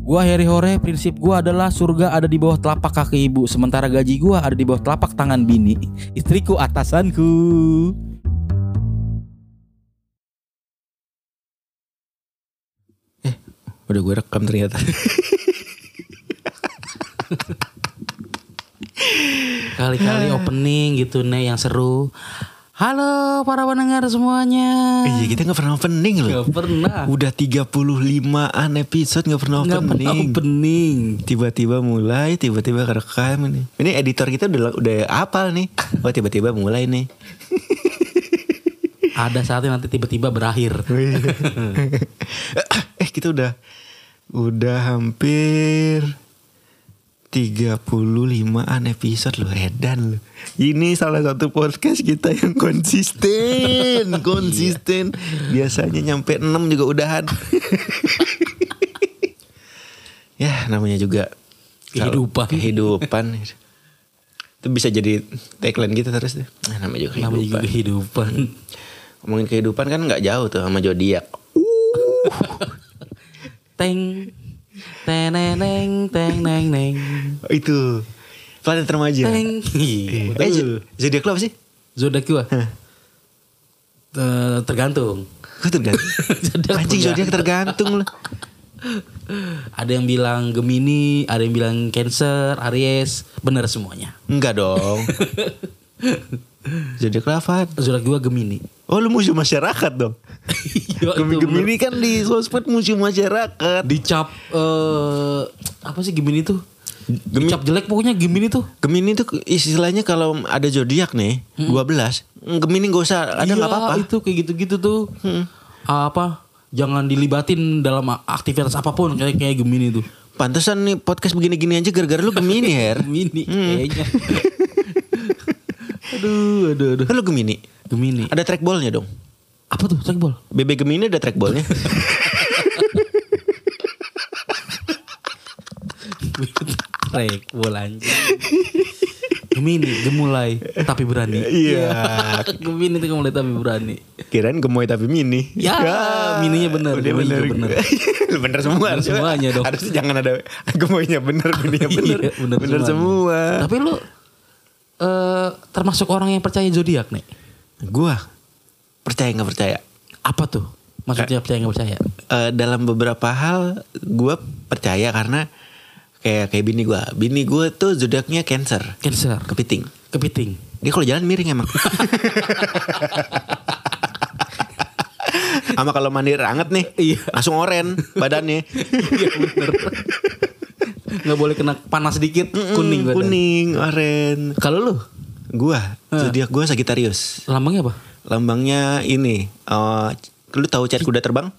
Gua Heri Hore, prinsip gua adalah surga ada di bawah telapak kaki ibu, sementara gaji gua ada di bawah telapak tangan bini. Istriku atasanku. Eh, Udah gue rekam ternyata. Kali-kali opening gitu nih yang seru. Halo para pendengar semuanya. Iya gitu. kita gak pernah opening Gak loh pernah. Udah 35an episode gak pernah Nggak opening pernah opening. Tiba-tiba mulai Tiba-tiba kerekam nih Ini editor kita udah, udah apal nih Wah tiba-tiba mulai nih Ada saatnya nanti tiba-tiba berakhir. Eh kita udah Udah hampir 35an episode loh Edan loh Ini salah satu podcast kita Iya. yang konsisten Konsisten Biasanya nyampe 6 juga udahan Ya namanya juga Kehidupan. Kehidupan Itu bisa jadi tagline kita terus deh Nah, Namanya juga Namanya juga kehidupan kehidupan. Ngomongin kehidupan kan nggak jauh tuh sama zodiak. Uh. Teng teneneng teng neng neng. Itu planet remaja. Teng. Iya. Eh, Betul. zo- zodiak lo apa sih? Zodiak gua. Hah. Ter- ah. tergantung. Kok tergantung? Zodiak Anjing zodiak tergantung lo. Ada yang bilang Gemini, ada yang bilang Cancer, Aries, bener semuanya. Enggak dong. zodiak lo apaan? Zodiak gua ah, Gemini. Oh lu museum masyarakat dong. Iya, itu Gem- Gemini kan di sosmed museum masyarakat. Dicap eh apa sih Gemini tuh? Gemi- Dicap jelek pokoknya Gemini tuh. Gemini tuh istilahnya kalau ada zodiak nih 12 Gemini gak usah ada Iya, nggak apa-apa Hmm. Itu kayak gitu-gitu tuh. Apa? Jangan dilibatin dalam aktivitas apapun kayak kayak Gemini tuh. Pantesan nih podcast begini-gini aja gara-gara lu Gemini Her Gemini Hmm. kayaknya. aduh, aduh, aduh. Kan lu Gemini Gemini. Ada trackballnya dong Apa tuh trackball? BB Gemini ada trackballnya trackball anjing. Gemini, gemulai tapi berani. Iya. Gemini itu gemulai tapi berani. Kirain gemoy tapi mini Ya, mininya bener, Udah mininya bener bener. bener. semua Bener harusnya. semuanya dong. Harusnya jangan ada gemoynya bener Mininya Ya, bener Iya, bener, semua, semuanya. Tapi lu eh, termasuk orang yang percaya zodiak nih. Gua Percaya gak percaya Apa tuh? Maksudnya percaya nggak percaya? Eh, Dalam beberapa hal Gua percaya karena Kayak kayak bini gua Bini gua tuh zodiaknya cancer Cancer, Kepiting kepiting. Dia kalau jalan miring emang. Sama kalau mandi air anget nih, Iya. langsung oren badannya. Iya bener. Nggak boleh kena panas dikit kuning. Mm, badan. kuning, oren. Kalau lu Gua, Ah. zodiak gua Sagittarius. lambangnya apa? Lambangnya ini. eh, lu tahu cat kuda terbang?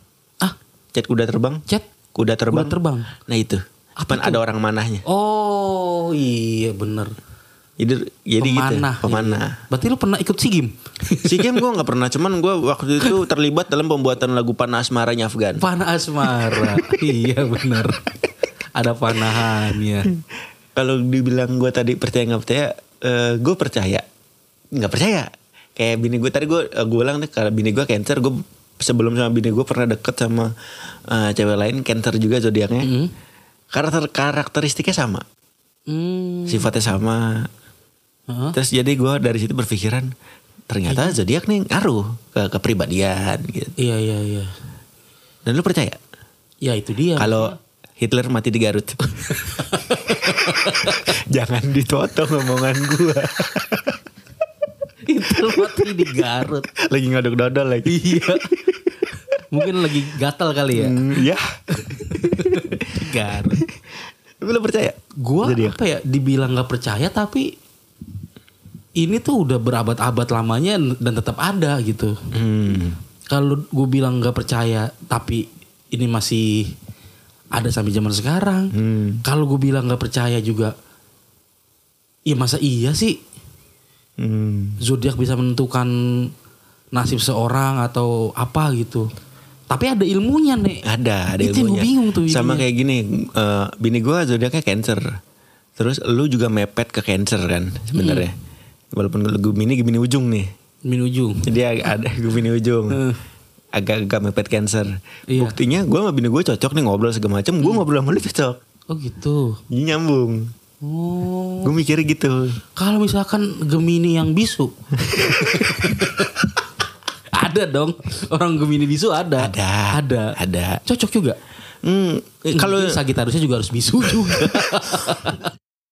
Ah, Cat kuda terbang? Cat kuda terbang. kuda terbang. Nah itu. Apa Apa itu? ada orang manahnya? oh iya bener. Jadi jadi pemanah. gitu. Pemanah. Iya. Berarti lu pernah ikut SEA Games? Si game gue nggak pernah, cuman gue waktu itu terlibat dalam pembuatan lagu Panah Asmaranya Afgan. Panah asmara. iya bener. Ada ya. panahannya. Iya. kalau dibilang gue tadi percaya nggak percaya gue percaya nggak percaya kayak bini gue tadi eh, gue gue ulang deh kalau bini gue cancer gue sebelum sama bini gue pernah deket sama eh, cewek lain cancer juga zodiaknya karakter karakteristiknya sama Hmm. sifatnya sama Heeh. terus jadi gue dari situ berpikiran ternyata zodiak nih ngaruh ke kepribadian gitu Iya iya iya. dan lu percaya Ya itu dia. kalau Hitler mati di Garut jangan ditotong omongan gue itu mati di Garut. lagi ngaduk dodol lagi. iya. Mungkin lagi gatal kali ya. Hmm, ya. Garut. Tapi lo percaya? Gua Jadi ya? apa ya dibilang nggak percaya tapi ini tuh udah berabad-abad lamanya dan tetap ada gitu. Hmm. Kalau gue bilang nggak percaya tapi ini masih ada sampai zaman sekarang. Hmm. Kalau gue bilang nggak percaya juga, ya masa iya sih Hmm. zodiak bisa menentukan nasib seorang atau apa gitu. Tapi ada ilmunya nih. Ada, ada Itu yang ilmunya. gue bingung tuh. Sama ilmunya. kayak gini, eh, bini gue zodiaknya cancer. Terus lu juga mepet ke cancer kan sebenarnya. Hmm. Walaupun gue bini bini ujung nih. min ujung. Jadi ag- ada gue bini ujung. Agak-agak mepet cancer. Iya. Buktinya gue sama bini gue cocok nih ngobrol segala macam. Gue ngobrol sama lu cocok. Oh gitu. Jadi Nyambung. Oh. Gue mikirnya gitu. Kalau misalkan Gemini yang bisu. ada dong. Orang Gemini bisu ada. Ada. Ada. Iya, Ada. Cocok juga. Hmm, Kalau kalau gitu, Sagitariusnya juga harus bisu juga.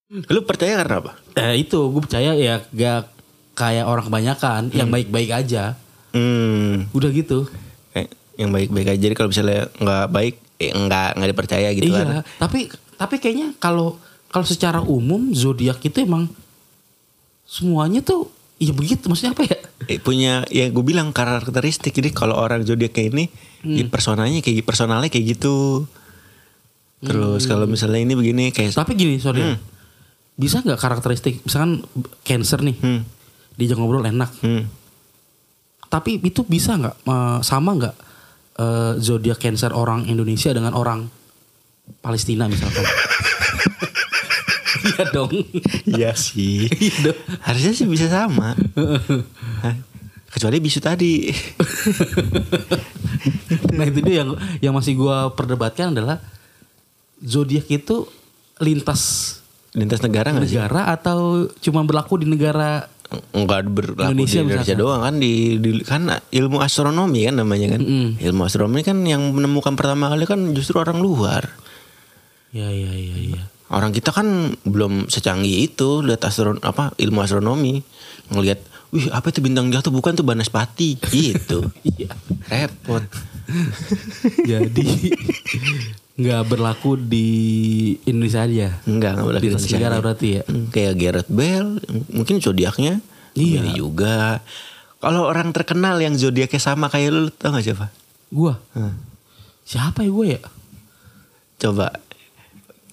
lu percaya karena apa? Eh, itu gue percaya ya gak kayak orang kebanyakan yang baik-baik aja. Hmm, Udah gitu. kayak yang baik-baik aja. Jadi kalau misalnya nggak baik, eh, nggak nggak dipercaya gitu kan. iya, tapi tapi kayaknya kalau kalau secara umum zodiak itu emang semuanya tuh ya begitu maksudnya apa ya? Eh, punya ya gue bilang karakteristik jadi kalau orang zodiak kayak ini Hmm. ya personanya kayak personalnya kayak gitu terus kalau misalnya ini begini kayak Hmm, Tapi gini, sorry. Hmm. ya. Bisa nggak karakteristik misalkan cancer nih. Hmm. Diajak ngobrol enak. hmm, Tapi itu bisa nggak eh, sama nggak eh, zodiak cancer orang Indonesia dengan orang Palestina misalkan? Iya dong. iya sih Iya dong. harusnya sih bisa sama Hah? kecuali bisu tadi Nah itu dia yang yang masih gua perdebatkan adalah zodiak itu lintas lintas negara nggak sih negara atau cuma berlaku di negara nggak berlaku Indonesia di Indonesia misalkan. doang kan di, di- kan ilmu astronomi kan namanya kan Mm-mm. ilmu astronomi kan yang menemukan pertama kali kan justru orang luar ya ya ya ya Orang kita kan belum secanggih itu lihat astron apa ilmu astronomi ngelihat wih apa itu bintang jatuh bukan tuh banaspati gitu. Iya. Repot. jadi nggak berlaku di Indonesia aja Enggak, enggak boleh Hmm, Di atas negara berarti ya? Kayak Gareth Bale, m- mungkin zodiaknya Iya. ini juga. Kalau orang terkenal yang zodiaknya sama kayak lu, lu tau gak siapa? gua Hmm. siapa ya gua ya Coba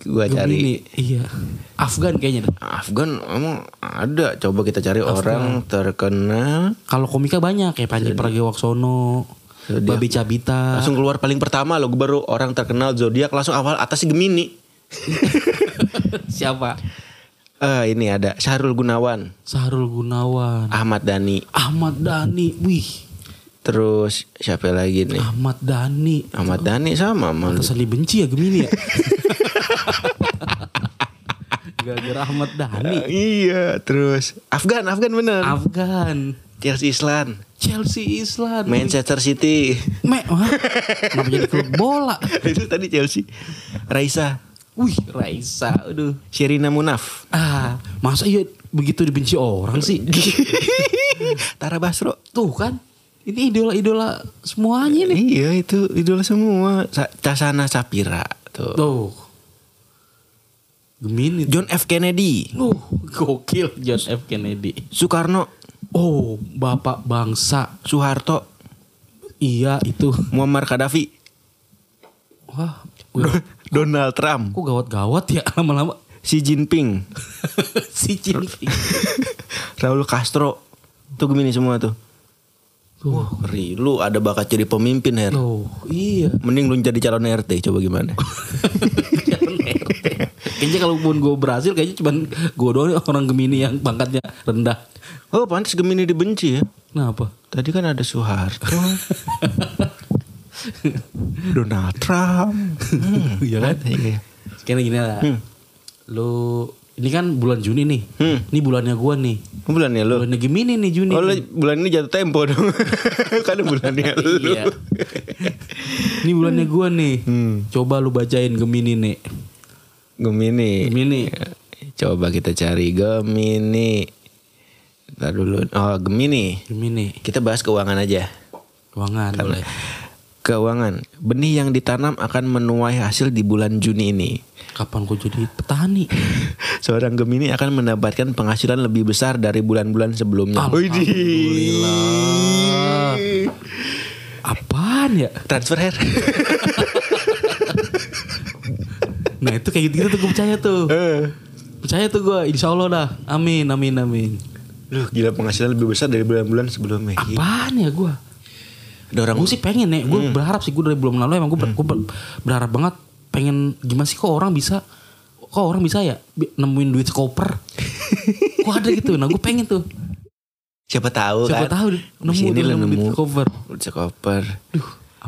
gua cari. Hmm. Gemini. iya Afgan kayaknya deh. Afgan emang ada. Coba kita cari orang terkenal. kalau komika banyak kayak Panji Pragiwaksono Zodiak. Babi Cabita Langsung keluar paling pertama loh, gue baru orang terkenal zodiak langsung awal atas Gemini. siapa Eh ini ada Syahrul Gunawan, Sahrul Gunawan Ahmad Dhani, Ahmad Dhani wih terus siapa lagi nih? Ahmad Dhani Ahmad Dhani sama Ah, sama. Pantesan dibenci ya Gemini ya Gara-gara Ahmad Dhani Eh, iya, terus Afgan, Afgan bener. Afgan Chelsea Islan, Chelsea Island Manchester City. Me wah, Kenapa jadi klub bola Itu tadi Chelsea. Raisa, Wih Raisa Aduh Sherina Munaf, ah, Masa iya begitu dibenci orang sih Tara Basro. Tuh kan Ini idola-idola semuanya nih Iya itu idola semua. Sa- Casana Sapira tuh. Tuh Gemini John F Kennedy, Tuh Gokil John F. Kennedy Soekarno, Oh Bapak bangsa Soeharto, Iya itu Muammar Gaddafi, Wah gue- Donald Trump, Kok gawat-gawat ya lama-lama Xi Jinping, si Jinping. Raul Castro. Tuh Gemini semua tuh. Tuh. Ngeri, lu ada bakat jadi pemimpin Her. Tuh, iya. Mending lu jadi calon RT coba gimana? Jangan RT. kayaknya kalau pun gue berhasil kayaknya cuman gue doang nih orang Gemini yang pangkatnya rendah. Oh pantas Gemini dibenci ya. Kenapa? Tadi kan ada Soeharto, Donald Trump. Hmm, Iya kan? Iya. Sekarang gini lah. Lu ini kan bulan Juni nih. Hmm. Ini bulannya gue nih. Bulan ya lu? Bulannya Gemini nih Juni. Oh, lu nih. bulan ini jatuh tempo dong. kan bulannya lu. Iya. ini bulannya gue nih. Hmm. Coba lu bacain Gemini nih. Gemini. Gemini. Coba kita cari Gemini. Ntar dulu. Oh, Gemini. Gemini. Kita bahas keuangan aja. Keuangan boleh. Keuangan. Benih yang ditanam akan menuai hasil di bulan Juni ini. Kapan gue jadi petani? Seorang Gemini akan mendapatkan penghasilan lebih besar dari bulan-bulan sebelumnya. Widih. Apaan ya? Transfer hair. Nah itu kayak gitu-gitu tuh gue percaya tuh. Eh. Percaya tuh gue, insya Allah dah. Amin, amin, amin. Duh, gila penghasilan lebih besar dari bulan-bulan sebelumnya. Apaan ya gue? Ada orang Gue sih pengen nih, Hmm. gue berharap sih gue dari bulan lalu emang gue ber- gue ber- berharap banget pengen gimana sih kok orang bisa kok orang bisa ya bi- nemuin duit sekoper. kok ada gitu? Nah gue pengen tuh. siapa tahu Siapa kan. tahu nemu Abis ini tuh, lo nemu duit nemu sekoper. duit sekoper.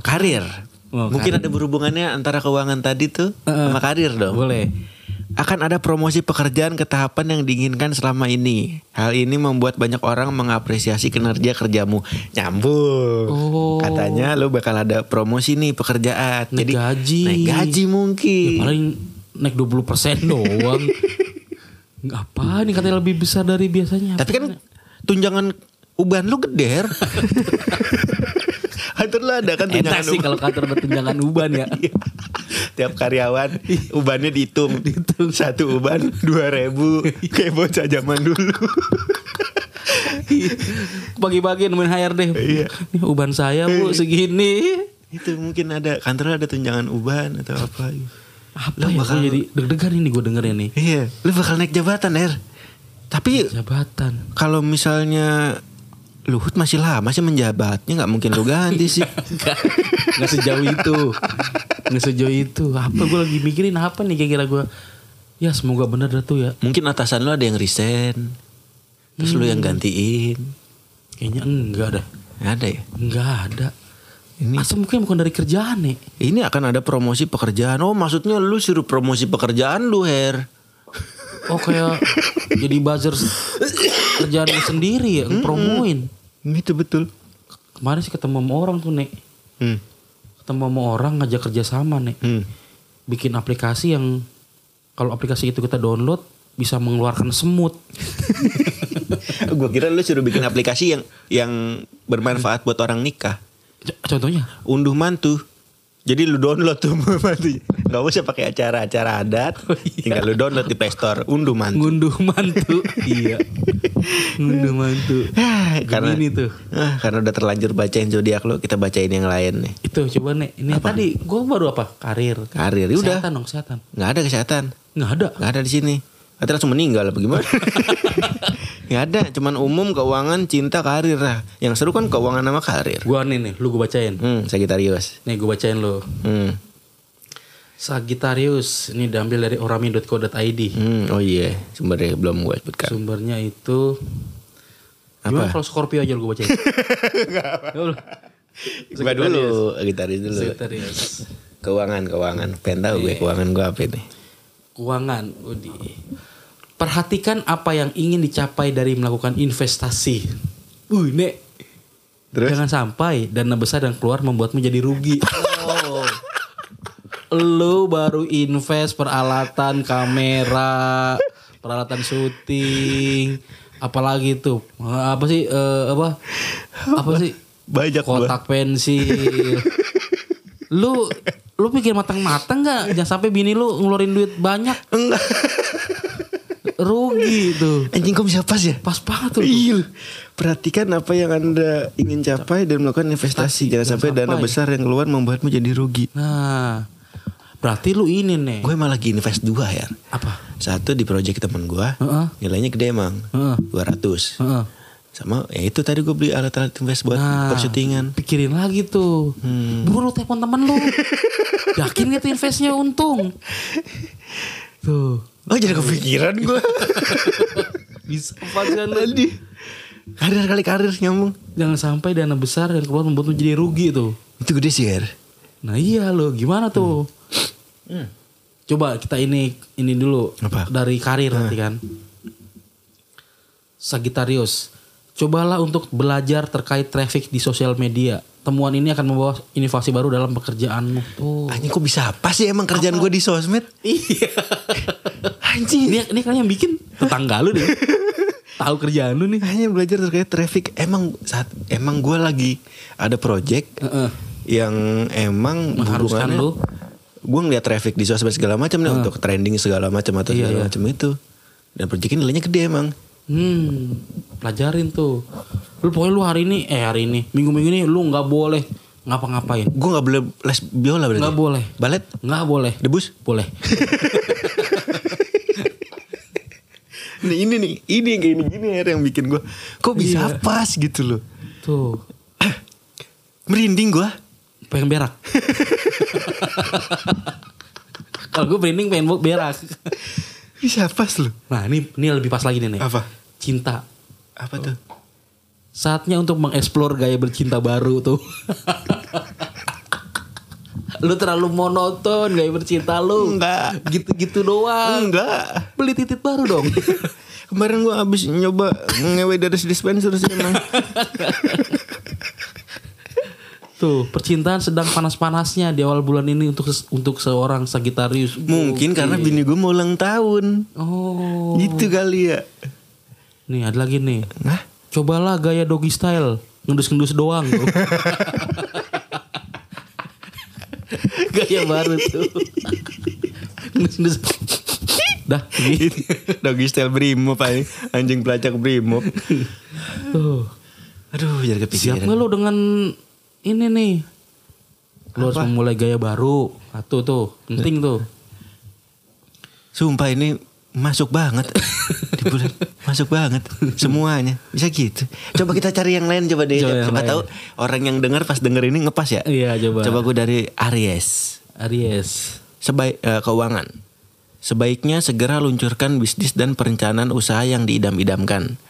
karir. Oh, karir. Mungkin ada berhubungannya antara keuangan tadi tuh Eh, sama karir dong. Boleh. Akan ada promosi pekerjaan ke tahapan yang diinginkan selama ini. Hal ini membuat banyak orang mengapresiasi kinerja kerjamu. Nyambung. Oh. Katanya lo bakal ada promosi nih pekerjaan. Naik Jadi gaji. Naik gaji mungkin. Ya, paling naik 20% doang. Apa nih katanya lebih besar dari biasanya? Tapi kan tunjangan uban lu geder. Hatur lah ada kan enak tunjangan sih uban. kalau kantor ada tunjangan uban ya. Iya. Tiap karyawan ubannya dihitung. Satu uban dua ribu. Kayak bocah zaman dulu. Bagi-bagi nemuin HRD. Iya. Nih uban saya Bu segini. Itu mungkin ada kantor ada tunjangan uban atau apa. Apa Lo ya? bakal- Gua jadi deg-degan ini gue dengerin nih. Iya, lu bakal naik jabatan, Er. Tapi Jabatan. kalau misalnya Luhut masih lama sih menjabatnya nggak mungkin lu ganti sih. Nggak sejauh itu. Nggak sejauh itu. Apa gue lagi mikirin apa nih kira-kira gue. Ya semoga bener dah tuh ya. Mungkin atasan lu ada yang resign. Terus lu yang gantiin. Kayaknya enggak dah. Ada ya? Enggak ada. Ini Masa mungkin bukan dari kerjaan nih. ini akan ada promosi pekerjaan. Oh, maksudnya lu suruh promosi pekerjaan lu, Her. Oh kayak jadi buzzer s- kerjaan lu sendiri ya, promoin. Itu Gitu, betul. Kemarin sih ketemu sama orang tuh nek, Hmm. ketemu sama orang ngajak kerja sama nek, Hmm. bikin aplikasi yang kalau aplikasi itu kita download bisa mengeluarkan semut. Gua kira lu suruh bikin aplikasi yang yang bermanfaat buat orang nikah. C- Contohnya, Unduh mantu. Jadi lu download tuh mantu. Gak usah pakai acara-acara adat. Tinggal lu download di Play Store. Oh, iya. Unduh mantu. ngunduh mantu. iya. Ngunduh mantu. Ah, karena Gemini tuh. Ah, karena udah terlanjur bacain zodiak lu, kita bacain yang lain nih. Itu coba nek, ini tadi gue baru apa? Karir. Karir, ya udah. Kesehatan dong, kesehatan. Nggak ada kesehatan. Nggak ada. Gak ada di sini. Katanya langsung meninggal apa gimana? Gak ada, cuman umum keuangan, cinta, karir lah. Yang seru kan keuangan sama karir. Gue nih nih, lu gue bacain. Hmm, Sagitarius. Nih gue bacain lu. Hmm. Sagittarius ini diambil dari orami.co.id. hmm. Oh iya, sumbernya belum gue sebutkan. Sumbernya itu Gimana kalau Scorpio aja gue bacain? Gue dulu, Sagitarius dulu. Sagittarius. Keuangan, keuangan. Pengen tahu Iya. gue keuangan gue apa nih. Keuangan, Udi. Perhatikan apa yang ingin dicapai dari melakukan investasi. Uh, Nek. Terus? Jangan sampai dana besar yang keluar membuatmu jadi rugi. Oh. Lu baru invest peralatan kamera, peralatan syuting, apalagi tuh. Apa sih eh, apa? Apa sih? Banyak gua. Kotak pensil. lu lu pikir matang-matang nggak? Jangan sampai bini lu ngeluarin duit banyak. Enggak. Rugi tuh. Anjing kok bisa pas ya? Pas banget tuh. Iya. Perhatikan apa yang Anda ingin capai dan melakukan investasi. Jangan sampai dana sampai. besar yang keluar membuatmu jadi rugi. Nah, berarti lu ini nih. Gue malah lagi invest dua ya. Apa? Satu di project temen gua Heeh. Nilainya gede emang Heeh. 200 Heeh. Sama ya itu tadi gue beli alat-alat invest buat Nah, persyutingan Hmm. Pikirin lagi tuh. Buruan lu telepon temen lu. Yakin gitu investnya untung. Tuh. Oh jadi kepikiran gue Bisa apaan lu? Tadi Karir kali karir nyambung Jangan sampai dana besar yang keluar membuat lu jadi rugi tuh. Itu gede sih Her Nah iya lo gimana tuh? Coba kita ini ini dulu Hmm. Apa? Nah. dari karir nanti kan. Sagittarius, cobalah untuk belajar terkait traffic di sosial media. Temuan ini akan membawa inovasi baru dalam pekerjaanmu. Tuh. Anjing kok bisa apa sih emang kerjaan gue di sosmed Iya. Anjing ini ini kan yang bikin tetangga lu nih. Tahu kerjaan lu nih. Hanya belajar terkait traffic Emang saat Emang gue lagi Ada project Heeh. yang emang Mengharuskan lu. gue ngeliat traffic di sosmed segala macam nih untuk trending segala macam atau Iya, segala iya. macam itu dan proyeknya nilainya gede emang Hmm, pelajarin tuh. Lu pokoknya lu hari ini, eh hari ini, minggu-minggu ini lu nggak boleh ngapa-ngapain. Gue nggak boleh les biola berarti. Nggak boleh. Balet, Nggak boleh. debus. Boleh. Nah ini nih, ini yang kayak gini akhirnya yang bikin gue, kok bisa Iya. pas gitu loh. Tuh. Merinding gue. Pengen berak. Kalau gue branding pengen bo- berak. Bisa pas loh. Nah ini, ini lebih pas lagi nih. Nek. Apa? Cinta. Apa tuh? Saatnya untuk mengeksplor gaya bercinta baru tuh. lu terlalu monoton gaya bercinta lu. Enggak. Gitu-gitu doang. Enggak. Beli titik baru dong. Kemarin gue abis nyoba ngewe dari dispenser sih emang. Tuh, percintaan sedang panas-panasnya di awal bulan ini untuk ses- untuk seorang Sagittarius. Mungkin karena bini gue mau ulang tahun. Oh. Gitu kali ya. Nih, ada lagi nih. Nah, Cobalah gaya doggy style. Ngendus-ngendus doang tuh. gaya baru tuh. Ngendus-ngendus. Dah, gitu. doggy style brimob paling anjing pelacak brimob. Tuh. Aduh, jadi gitu. Siap kepikiran. nggak lu dengan ini nih? Lu harus Apa? memulai gaya baru. Satu tuh, penting tuh. Sumpah ini masuk banget di bulan masuk banget semuanya bisa gitu coba kita cari yang lain coba deh Coba yang siapa lain. tahu orang yang dengar pas denger ini ngepas ya Iya, coba. coba gue dari Aries Aries. sebaik eh, keuangan sebaiknya segera luncurkan bisnis dan perencanaan usaha yang diidam-idamkan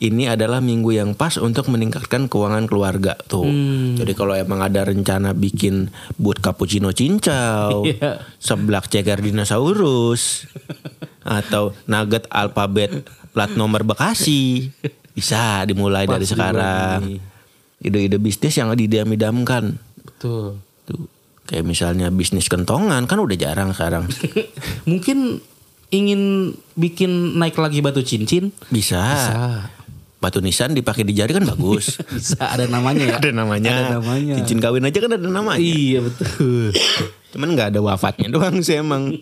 ini adalah minggu yang pas untuk meningkatkan keuangan keluarga tuh. Hmm. Jadi kalau emang ada rencana bikin buat cappuccino cincau, Iya. seblak ceker dinosaurus atau nugget alfabet plat nomor Bekasi bisa dimulai Pas dari di bulan ini. sekarang. Ide-ide bisnis yang diidam-idamkan. Betul. Tuh. Kayak misalnya bisnis kentongan kan udah jarang sekarang. Mungkin ingin bikin naik lagi batu cincin? Bisa. Batu nisan dipakai di jari kan bagus. Bisa ada namanya ya. ada namanya. Ada namanya. Cincin kawin aja kan ada namanya. Iya betul. Cuman nggak ada wafatnya doang sih emang.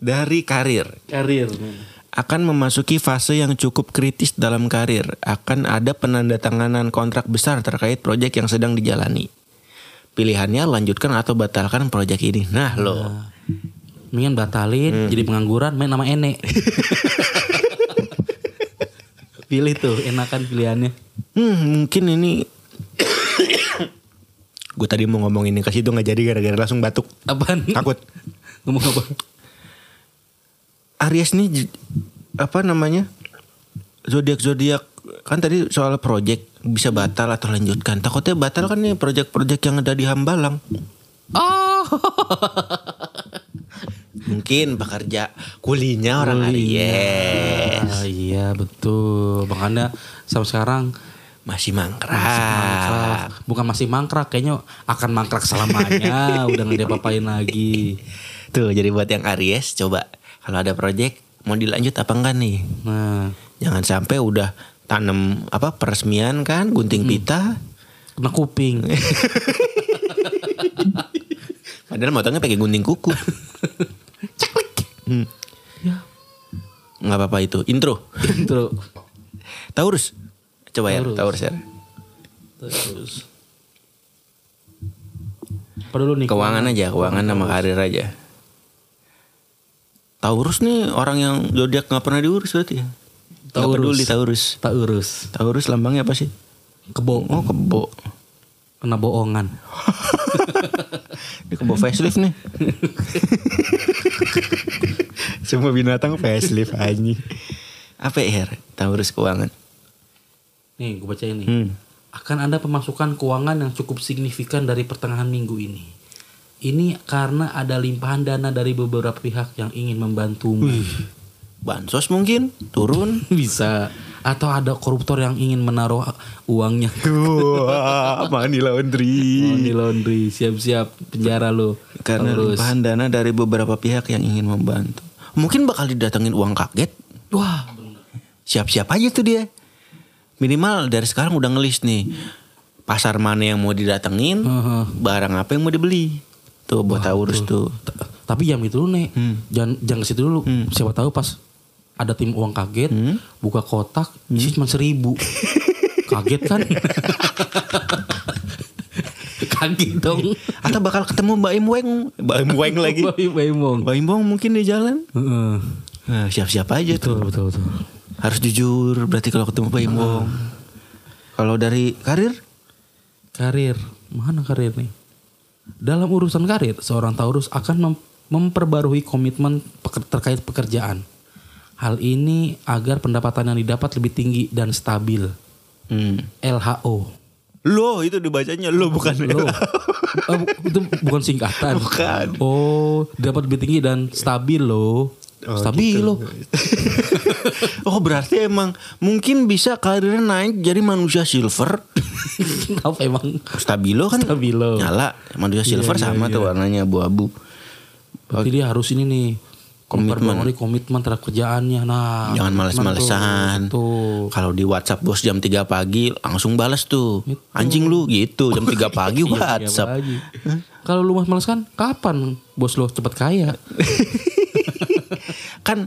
Dari karir, Karir. akan memasuki fase yang cukup kritis dalam karir. Akan ada penandatanganan kontrak besar terkait proyek yang sedang dijalani. Pilihannya lanjutkan atau batalkan proyek ini. Nah, loh. Mendingan batalin Hmm. jadi pengangguran main nama Ene. Pilih tuh enakan pilihannya. Hmm, mungkin ini gue tadi mau ngomong ini ke situ nggak jadi gara-gara langsung batuk. Apaan? Takut. Ngomong apa? Aries nih j- apa namanya? Zodiak-zodiak kan tadi soal project bisa batal atau lanjutkan. Takutnya batal kan nih project-project yang ada di Hambalang. Oh. Mungkin pekerja kulinya orang Aries. Ah, iya betul. Makanya sampai sekarang Masih mangkrak. Ah. mangkrak. Bukan masih mangkrak, kayaknya akan mangkrak selamanya. Udah nggak ada papain lagi. Tuh, jadi buat yang Aries coba kalau ada project mau dilanjut apa enggak nih? Nah, Jangan sampai udah tanam apa peresmian kan Hmm. gunting pita kena kuping. padahal motongnya pakai gunting kuku. Hmm. Ya. Nggak apa-apa itu. Intro. Terus, Taurus. Coba ya, Taurus. Taurus ya. terus. Apa dulu nih? Keuangan aja, keuangan sama karir aja. Taurus nih orang yang zodiak nggak pernah diurus berarti ya. Nggak Taurus. peduli Taurus. Tak urus. Taurus lambangnya apa sih? Kebo. Oh kebo. Kena bohongan. Ini kebo facelift nih. Semua binatang facelift anjing. Apa ya? Her? Taurus keuangan. Nih, gue bacain nih. Hmm. Akan ada pemasukan keuangan yang cukup signifikan dari pertengahan minggu ini. Ini karena ada limpahan dana dari beberapa pihak yang ingin membantumu. Bansos mungkin turun. Bisa. Atau ada koruptor yang ingin menaruh uangnya Wah, money laundry. Oh, di laundry siap-siap penjara lo Karena Taurus. limpahan dana dari beberapa pihak yang ingin membantu. Mungkin bakal didatengin uang kaget. wah Siap-siap aja tuh dia. Minimal dari sekarang udah ngelis nih. Pasar mana yang mau didatengin, Heeh. barang apa yang mau dibeli. Tuh buat Taurus tuh. T- tapi jam itu dulu nih jangan jangan ke situ dulu siapa tahu pas ada tim uang kaget buka kotak isinya cuma seribu kaget kan lagi dong. Atau bakal ketemu Mbak Im Weng. Mbak Im Weng lagi. Bayi Baimong. Mbak Im Weng mungkin di jalan. Heeh. Nah, siap-siap aja tuh. Betul betul betul. Harus jujur berarti kalau ketemu Mbak Im Weng. Kalau dari karir? Karir mana karir nih? Dalam urusan karir, seorang Taurus akan mem- memperbarui komitmen peker- terkait pekerjaan. Hal ini agar pendapatan yang didapat lebih tinggi dan stabil. LHO. Lo Hmm. itu dibacanya lo bukan Lo. lo. Eh, bu- itu bukan singkatan. Bukan. Oh, dapat lebih tinggi dan stabil loh. stabil gitu. loh. oh berarti emang mungkin bisa karirnya naik jadi manusia silver. Kenapa emang? Stabilo kan Stabilo. Iya, nyala. Manusia silver sama tuh warnanya abu-abu. Berarti dia harus ini nih Komitmen. memperbarui komitmen terhadap kerjaannya. Nah, Jangan males-malesan. Tuh. Gitu. Kalau di WhatsApp bos jam 3 pagi langsung balas tuh. Anjing lu gitu jam 3 pagi WhatsApp. Lagi. Kalau lu males kan kapan bos lo cepat kaya? kan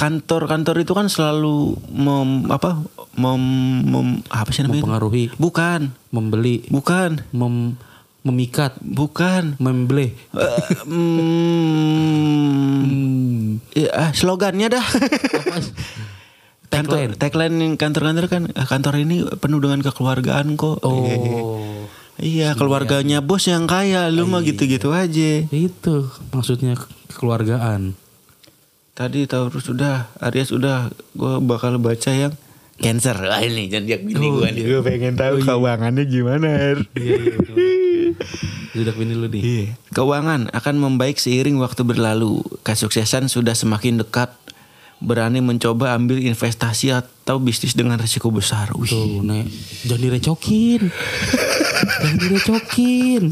kantor-kantor itu kan selalu mem, apa mem- mem- apa sih namanya? Mempengaruhi, Bukan, membeli, bukan, mem- memikat, bukan. membeleh. Eh, mm, ya, ah, slogannya dah. Kantor, tagline kantor-kantor kan "Ah, kantor ini penuh dengan kekeluargaan kok. Oh. Iya, keluarganya bos yang kaya, lu mah gitu-gitu aja. Itu maksudnya ke- kekeluargaan. Tadi Taurus sudah, Aries sudah, gua bakal baca yang Oh, iya. Cancer. Wah ini zodiak bini gua nih. Gua pengen tahu keuangannya gimana. Er? Tidak bini lu nih. Iya. Keuangan akan membaik seiring waktu berlalu. Kesuksesan sudah semakin dekat. Berani mencoba ambil investasi atau bisnis dengan risiko besar. Wih. Tuh, Nek. Jangan direcokin. Jangan direcokin.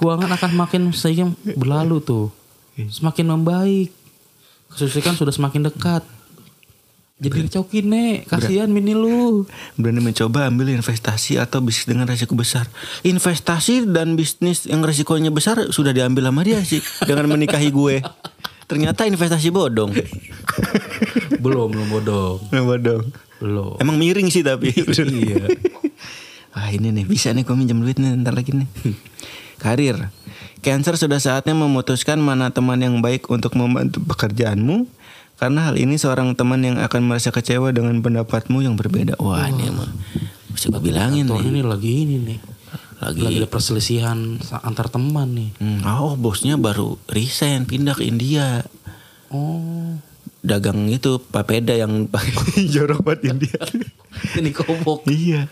Keuangan akan makin seiring berlalu tuh. Semakin membaik. Kesuksesan sudah semakin dekat. Jadi direcokin, Nek. Kasihan mini lu. Berani mencoba ambil investasi atau bisnis dengan risiko besar. Investasi dan bisnis yang risikonya besar sudah diambil sama dia sih dengan menikahi gue. Ternyata investasi bodong. Belum, belum bodoh. Nah, bodong. Belum. Emang miring sih tapi. iya. Wah ini nih bisa nih gue minjem duit nih ntar lagi nih. Karir. Cancer sudah saatnya memutuskan mana teman yang baik untuk membantu pekerjaanmu. Karena hal ini seorang teman yang akan merasa kecewa dengan pendapatmu yang berbeda. Wah ini emang. Mesti gue bilangin Tahun nih. ini lagi ini nih. Lagi. Lagi, ada perselisihan sa- antar teman nih. Hmm, oh bosnya baru resign pindah ke India. Oh. Dagang itu papeda yang pakai jorok buat India. Ini kobok. iya.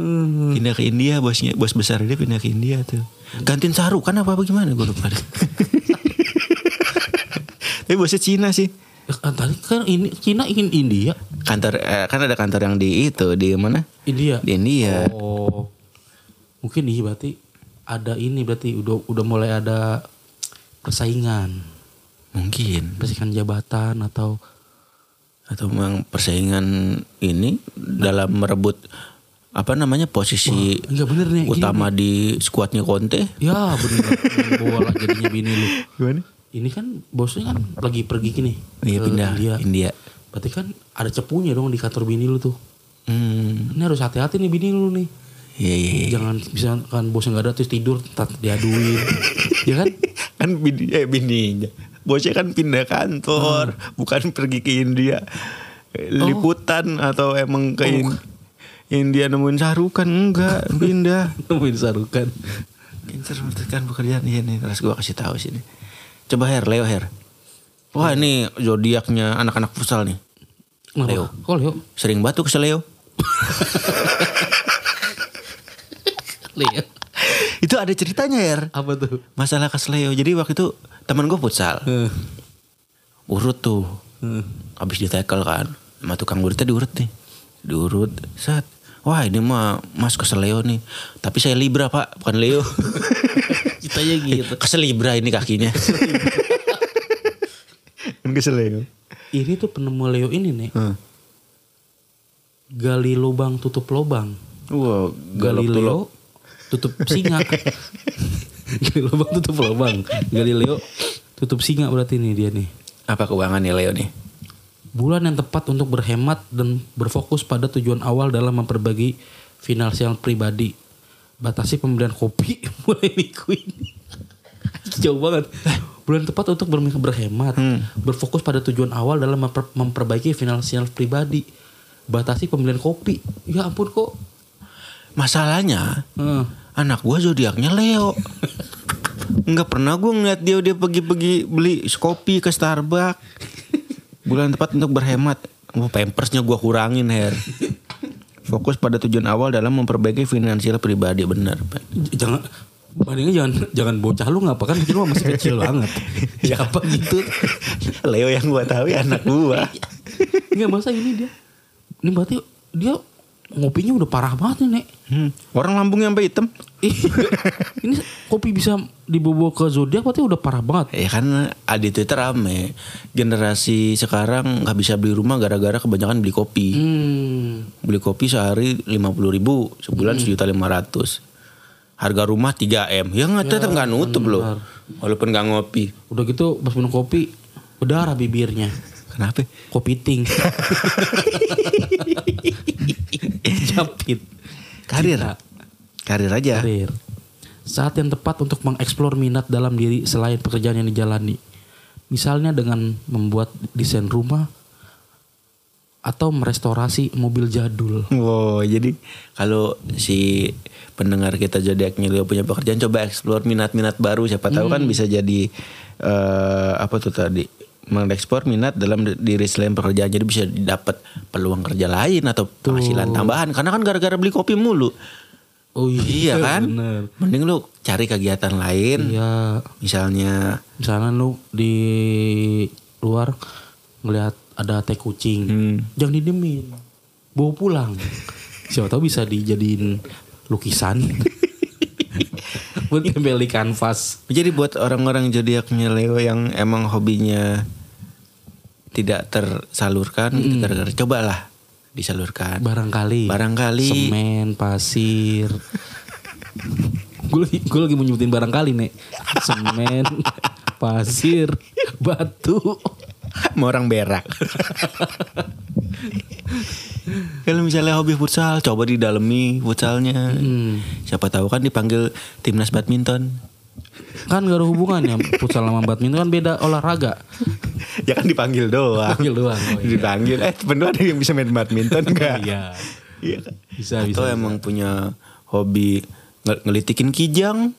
Hmm. pindah ke India bosnya bos besar dia pindah ke India tuh gantiin Saru kan apa apa gimana gue lupa deh. tapi bosnya Cina sih Ya, kan Tadi kan ini Cina ingin India. kantor eh, kan ada kantor yang di itu di mana India. di India Oh. Mungkin iya berarti ada ini berarti udah udah mulai ada persaingan, mungkin persaingan jabatan atau atau memang persaingan ini dalam merebut apa namanya posisi enggak iya bener nih. gini utama di skuadnya Conte nih. Ya bener Main bola jadinya bini lu. gimana Ini kan bosnya kan lagi pergi gini. iya ke pindah India, Berarti kan ada cepunya dong di kantor bini lu tuh. Hmm, Ini harus hati-hati nih bini lu nih. iya iya iya. Jangan misalkan bosnya nggak ada terus tidur ntar diaduin. ya kan? kan bini eh bininya bosnya kan pindah kantor bukan pergi ke India liputan atau emang ke In- India nemuin sarukan enggak pindah Nemuin sarukan. Cancer memutuskan pekerjaan iya nih terus gua kasih tahu sini coba Her Leo Her wah ini zodiaknya anak-anak futsal nih Kenapa? Leo. Kok Leo? sering batuk ke Leo Leo. itu ada ceritanya Her Apa tuh? masalah ke Leo jadi waktu itu teman gue futsal urut tuh habis di tackle kan sama tukang urutnya diurut nih diurut set wah ini mah mas kesel Leo nih tapi saya Libra pak bukan Leo Kitanya gitu. kesel Libra ini kakinya kan kesel Leo Ini tuh penemu Leo ini nih. Gali lubang tutup lubang. wah galop tulok Galileo tutup singa. Gali lubang tutup lubang. Galileo tutup singa berarti nih dia nih. apa keuangan nih Leo nih Bulan yang tepat untuk berhemat dan berfokus pada tujuan awal dalam memperbagi finansial pribadi. batasi pembelian kopi mulai minggu ini. Jauh banget. Bulan tepat untuk bermi- berhemat, berfokus pada tujuan awal dalam memper- memperbaiki finansial pribadi. Batasi pembelian kopi. Ya ampun kok. Masalahnya Heeh. anak gua zodiaknya Leo. Nggak pernah gua ngeliat dia dia pergi-pergi beli kopi ke Starbucks. Bulan tepat untuk berhemat. Wah, pampersnya gua kurangin Her. Fokus pada tujuan awal dalam memperbaiki finansial pribadi benar. Pak. J- jangan bandingnya jangan jangan bocah lu ngapa kan lu masih kecil banget. Siapa gitu? Leo yang gua tahu ya anak gua. Enggak masa ini dia. Ini berarti dia ngopinya udah parah banget nih, Nek. Hmm. Orang lambungnya sampai hitam. ini kopi bisa dibawa ke zodiak berarti udah parah banget. Ya kan ah, di Twitter rame Generasi sekarang nggak bisa beli rumah gara-gara kebanyakan beli kopi Hmm. Beli kopi sehari 50 ribu Sebulan 1.500 Harga rumah 3M Ya nggak tetap nggak nutup loh Walaupun nggak ngopi Udah gitu pas minum kopi berdarah bibirnya. Kenapa? Kopi ting. Capit. Karir Karir aja Karir. Saat yang tepat untuk mengeksplor minat dalam diri selain pekerjaan yang dijalani. Misalnya dengan membuat desain rumah atau merestorasi mobil jadul. Wow, jadi kalau si pendengar kita zodiaknya dia punya pekerjaan coba eksplor minat-minat baru siapa tahu Hmm. kan bisa jadi eh, apa tuh tadi mengekspor minat dalam di- diri selain pekerjaan jadi bisa dapat peluang kerja lain atau penghasilan tambahan karena kan gara-gara beli kopi mulu Oh iya kan Bener. mending lu cari kegiatan lain Iya. misalnya misalnya lu di luar ngelihat ada teh kucing jangan didemin bawa pulang siapa tahu bisa dijadiin lukisan buat tempel di kanvas Jadi buat orang-orang zodiaknya Leo yang emang hobinya tidak tersalurkan, gitu, gara-gara cobalah disalurkan. barangkali Barangkali. semen pasir gue lagi, gue lagi mau nyebutin barangkali nek semen pasir batu Mau orang berak. Kalau misalnya hobi futsal, coba didalami futsalnya. Siapa tahu kan dipanggil timnas badminton. kan gak ada hubungannya futsal sama badminton kan beda olahraga ya kan dipanggil doang. Dipanggil doang, oh iya. Dipanggil. Eh, bener ada yang bisa main badminton enggak? iya Iya kan? Bisa, Atau emang punya hobi ngel- ngelitikin kijang.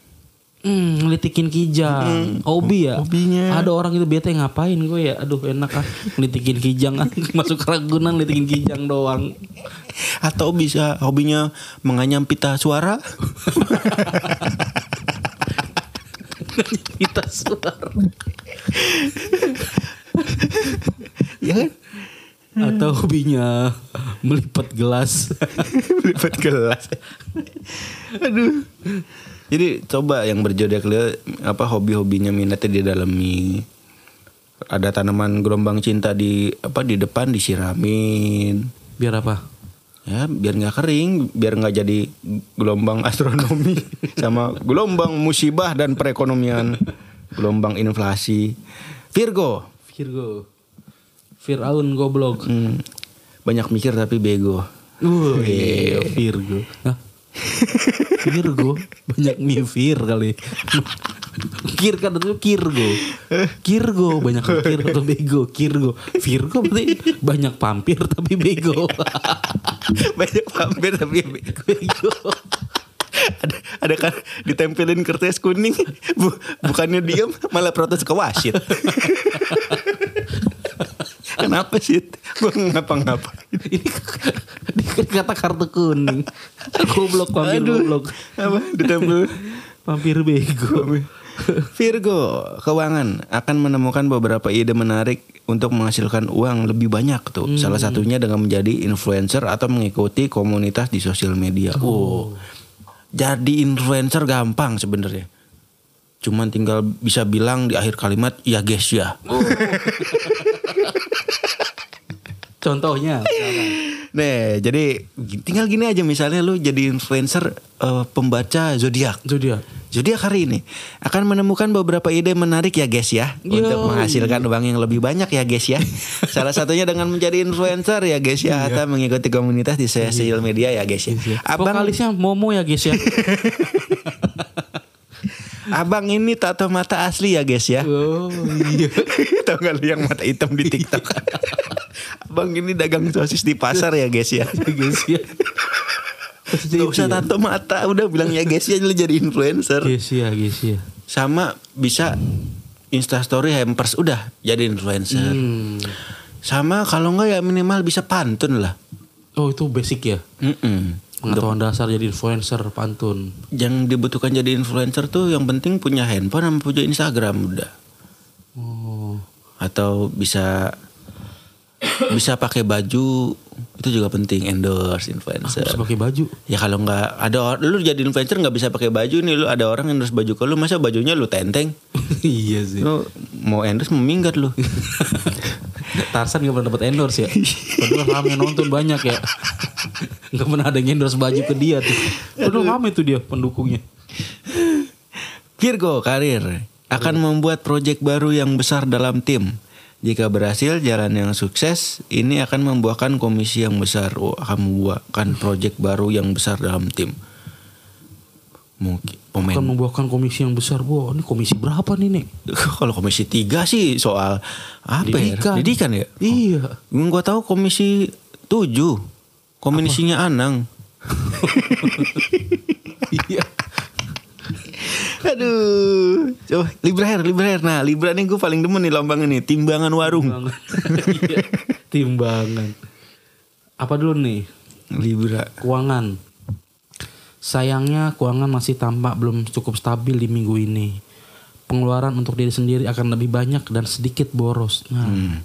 Hmm, ngelitikin kijang. Hobi ya? hobinya. Ada orang itu bete ngapain gue ya? Aduh enak ah. Ngelitikin kijang ah. Masuk ke Ragunan ngelitikin kijang doang. Atau bisa hobinya menganyam pita suara. Kita suara. ya kan? Atau hobinya melipat gelas. Lipat gelas. Aduh. Jadi coba yang berjodoh Leo apa hobi-hobinya minatnya didalami. Ada tanaman gelombang cinta di apa di depan disiramin. Biar apa? Ya, biar nggak kering, biar nggak jadi gelombang astronomi sama gelombang musibah dan perekonomian, gelombang inflasi. Virgo, Virgo. Firaun goblok. Hmm, banyak mikir tapi bego. Uh, iya, Virgo. Hah? Virgo banyak mikir kali. Kir kan itu Kirgo. Kirgo banyak mikir atau bego. Kirgo. Virgo berarti banyak pampir tapi bego. banyak pamer tapi bego. bego. ada, ada kan ditempelin kertas kuning bu, bukannya diem malah protes ke wasit kenapa sih gue ngapa-ngapa Ini kata kartu kuning. Goblok pampir goblok. apa ditempel Pampir bego. Virgo keuangan akan menemukan beberapa ide menarik untuk menghasilkan uang lebih banyak tuh salah satunya dengan menjadi influencer atau mengikuti komunitas di sosial media oh. jadi influencer gampang sebenarnya cuman tinggal bisa bilang di akhir kalimat ya guys ya Contohnya Nih, jadi tinggal gini aja misalnya lu jadi influencer eh, pembaca zodiak. itu dia. Zodiak hari ini akan menemukan beberapa ide menarik ya guys ya untuk menghasilkan uang yang lebih banyak ya guys ya. Salah satunya dengan menjadi influencer ya guys ya atau mengikuti komunitas di sosial media ya guys ya. iya. Abang Vokalisnya Momo ya guys ya. Abang ini tato mata asli ya guys ya. oh iya. Tahu nggak lu yang mata hitam di TikTok? Abang ini dagang sosis di pasar ya guys ya. Guys ya. Gak usah tato mata, udah bilang ya guys ya lu jadi influencer. Guys ya, guys ya. Sama bisa instastory hampers udah jadi influencer. Hmm. Sama kalau nggak ya minimal bisa pantun lah. Oh itu basic ya. Mm-mm. Pengetahuan dasar jadi influencer pantun. Yang dibutuhkan jadi influencer tuh yang penting punya handphone sama punya Instagram udah. Oh. Atau bisa bisa pakai baju itu juga penting endorse influencer. Terus pakai baju. Ya kalau nggak ada or- lu jadi influencer nggak bisa pakai baju nih lu ada orang endorse baju ke lu masa bajunya lu tenteng. iya sih. Lu mau endorse meminggir lu. Tarsan gak pernah dapat endorse ya. Padahal rame yang nonton banyak ya. Gak pernah ada yang endorse baju ke dia tuh. Padahal rame tuh dia pendukungnya. Virgo karir akan membuat proyek baru yang besar dalam tim. Jika berhasil jalan yang sukses, ini akan membuahkan komisi yang besar, Oh, akan membuahkan proyek baru yang besar dalam tim. Mungkin Akan pemain membuahkan komisi yang besar. Wah ini komisi berapa nih nih? kalau komisi 3 sih soal apa Pendidikan. ya? Pendidikan ya? Iya. Yang gue tahu komisi 7 Komisinya Anang Iya. Aduh Coba Libra Hair, Libra Hair Nah Libra nih gue paling demen nih lambang ini Timbangan warung Timbangan. Iya. Timbangan. Apa dulu nih? Libra Keuangan. Sayangnya keuangan masih tampak belum cukup stabil di minggu ini. Pengeluaran untuk diri sendiri akan lebih banyak dan sedikit boros. Nah,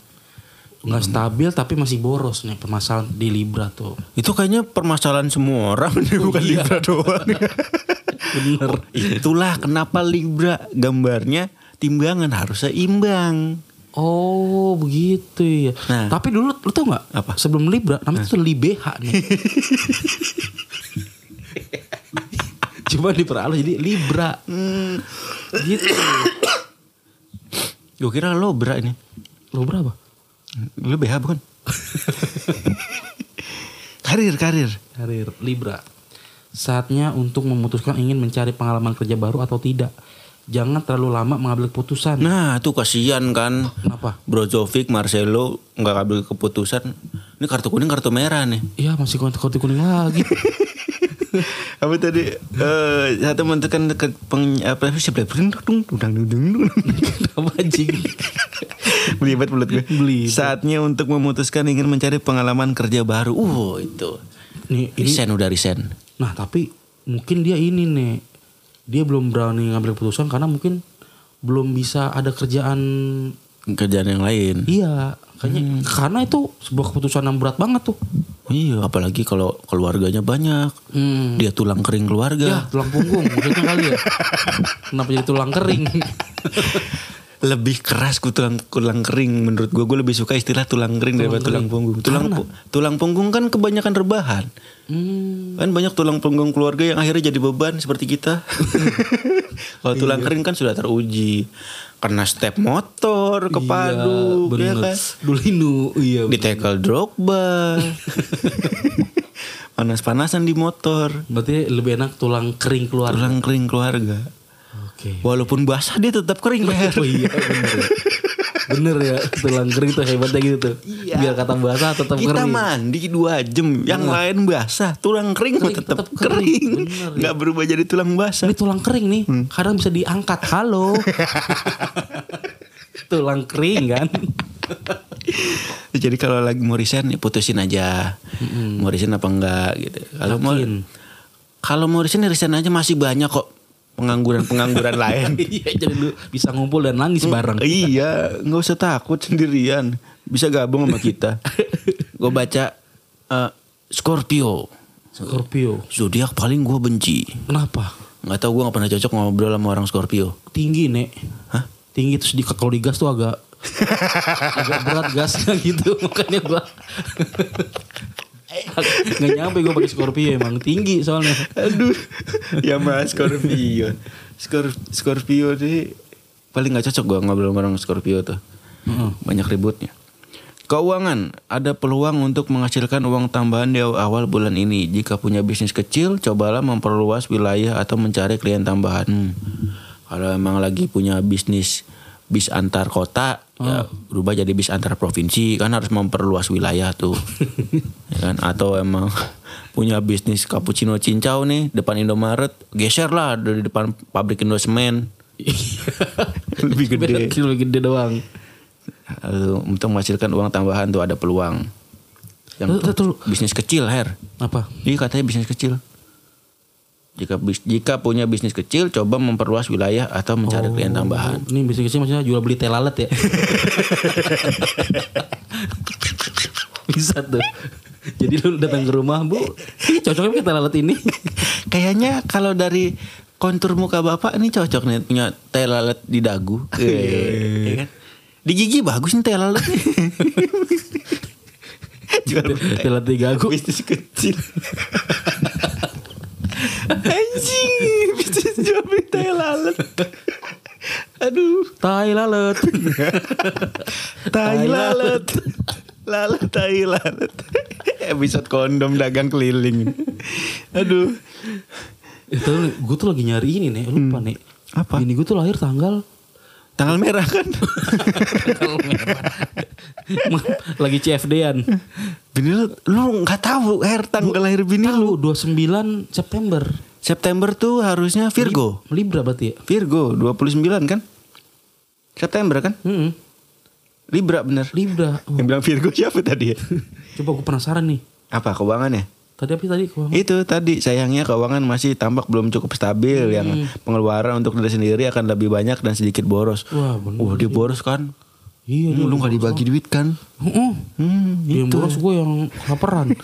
nggak stabil tapi masih boros nih permasalahan di Libra tuh. Itu kayaknya permasalahan semua orang nih, Bukan Libra doang Iya. Bener. Itulah kenapa Libra gambarnya Timbangan harus seimbang Oh begitu ya. Nah. Tapi dulu lu tau nggak? Apa? Sebelum Libra namanya tuh Libeha nih. Cuma diperhalus jadi Libra. Gitu. Gue kira lo Bra ini Lo berapa? Lo BH bukan? karir, karir Karir Libra. Saatnya untuk memutuskan ingin mencari pengalaman kerja baru atau tidak. Jangan terlalu lama mengambil keputusan. Nah tuh kasihan kan Kenapa? Brozovic, Marcelo nggak ambil keputusan. Ini kartu kuning, kartu merah nih. Iya masih kontak-kontak kuning lagi. Apa tadi? Eh, satu menentukan ke peng apa sih sebelah dudung dudang dudung Kenapa anjing? Belibet mulut gue. Belibet. Saatnya untuk memutuskan ingin mencari pengalaman kerja baru. Uh itu. Nih, ini Resign udah resign. Nah tapi mungkin dia ini nih dia belum berani ngambil keputusan karena mungkin belum bisa ada kerjaan Kerjaan yang lain. iya kayaknya Hmm. karena itu sebuah keputusan yang berat banget tuh Iya, apalagi kalau keluarganya banyak. Hmm. Dia tulang kering ya keluarga. tulang punggung maksudnya kali ya kenapa jadi tulang kering lebih keras ku tulang tulang kering menurut gue gue lebih suka istilah tulang kering daripada tulang punggung tulang pu- tulang punggung kan kebanyakan rebahan hmm. kan banyak tulang punggung keluarga yang akhirnya jadi beban seperti kita kalau tulang Iya. kering kan sudah teruji kena step motor kepadu iya, ya bener. kan Dulinu, iya di tackle drogba panas-panasan di motor berarti lebih enak tulang kering keluar tulang kering keluarga oke walaupun basah dia tetap kering leher Oh iya bener ya. Bener ya tulang kering tuh hebatnya gitu tuh. Biar kata bahasa tetap kita kering. mandi dua jam yang lain basah tulang kering, mah tetap, tetap kering, kering, bener ya. nggak berubah jadi tulang basah Ini tulang kering nih, kadang bisa diangkat. Halo. tulang kering kan. jadi kalau lagi mau resign ya putusin aja mau resign apa enggak gitu kalau mau Yakin. kalau mau resign ya resign aja masih banyak kok pengangguran pengangguran lain Iya, jadi lu Hmm, bisa ngumpul dan nangis bareng. iya nggak usah takut sendirian bisa gabung sama kita gue baca eh, Scorpio Scorpio. zodiak paling gue benci Kenapa? nggak tahu gue nggak pernah cocok ngobrol sama orang Scorpio Tinggi, Nek. Hah? Tinggi terus di kalau digas tuh agak agak berat gasnya gitu. Makanya gua nggak nyampe gua pakai Scorpio emang tinggi soalnya. Aduh, ya mas Scorpio. Scor- Scorpio nih paling nggak cocok gua ngobrol orang Scorpio tuh. Banyak ributnya. Keuangan, ada peluang untuk menghasilkan uang tambahan di awal bulan ini. Jika punya bisnis kecil, cobalah memperluas wilayah atau mencari klien tambahan. Hmm. Kalau emang lagi punya bisnis bis antar kota, ya berubah jadi bis antar provinsi kan harus memperluas wilayah tuh. ya kan atau emang punya bisnis cappuccino cincau nih depan Indomaret, geser lah dari depan pabrik Indosemen. Lebih gede. Lebih gede doang. Lalu Eh, untuk menghasilkan uang tambahan tuh ada peluang. Yang Tuh, tuh, tuh. bisnis kecil, Her. Apa? Iya katanya bisnis kecil. Jika bis- jika punya bisnis kecil, coba memperluas wilayah atau mencari klien tambahan. Ini bisnis kecil maksudnya jual beli teh lalat ya. Bisa tuh. Jadi lu datang ke rumah, Bu. Ih, cocoknya pakai teh lalat ini. Kayaknya kalau dari kontur muka bapak ini cocok nih punya teh lalat di dagu. Iya kan? Di gigi bagus nih teh lalat. Jual teh lalat tiga aku. bisnis kecil. Anjing, bisnis jual beli teh lalat. Aduh, Tai lalat. tai lalat. Lalat tai lalat. Episode kondom dagang keliling. Aduh. Itu gue tuh lagi nyari ini nih, lupa nih. Hmm. Apa? Ini gue tuh lahir tanggal Tanggal merah kan? tanggal merah. lagi CFD-an. Bini lu, lu gak tahu Her tanggal lahir bini lu. Tahu 29 September. September tuh harusnya Virgo. Libra berarti ya? Virgo 29 kan? September kan? Mm-mm. Libra bener. Libra. Oh, Yang bilang Virgo siapa tadi ya? Coba gue penasaran nih. Apa keuangannya? Tadi apa sih tadi? Gua- Itu tadi sayangnya keuangan masih tampak belum cukup stabil yang pengeluaran untuk diri sendiri akan lebih banyak dan sedikit boros. Wah, bener Wah, dia boros kan? Iya, Hmm, lu gak dibagi duit kan? Heeh. Hmm, Yang itu. boros gue yang laparan.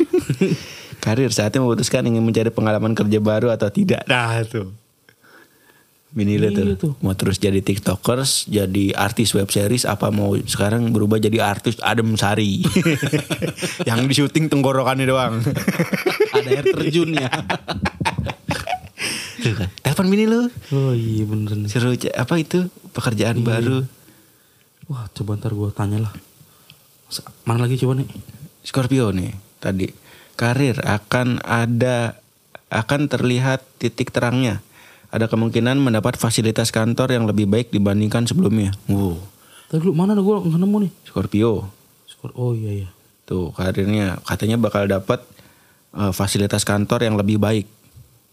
Karir saatnya memutuskan ingin mencari pengalaman kerja baru atau tidak. Nah itu. Gitu. Bini lu Iya tuh. tuh. Mau terus jadi tiktokers, jadi artis web series, apa mau sekarang berubah jadi artis Adem Sari. Yang di syuting tenggorokannya doang. Ada air terjunnya. Tuh kan. Telepon bini lu. oh iya bener nih. Seru ce- apa itu pekerjaan baru. Wah coba ntar gue tanya lah. Sa- Mana lagi coba nih? Scorpio nih tadi. Karir akan ada akan terlihat titik terangnya. Ada kemungkinan mendapat fasilitas kantor yang lebih baik dibandingkan sebelumnya. Wow. Tadi dulu mana gue nggak nemu nih. Scorpio. Skor- Oh iya iya. Tuh karirnya katanya bakal dapat eh, fasilitas kantor yang lebih baik.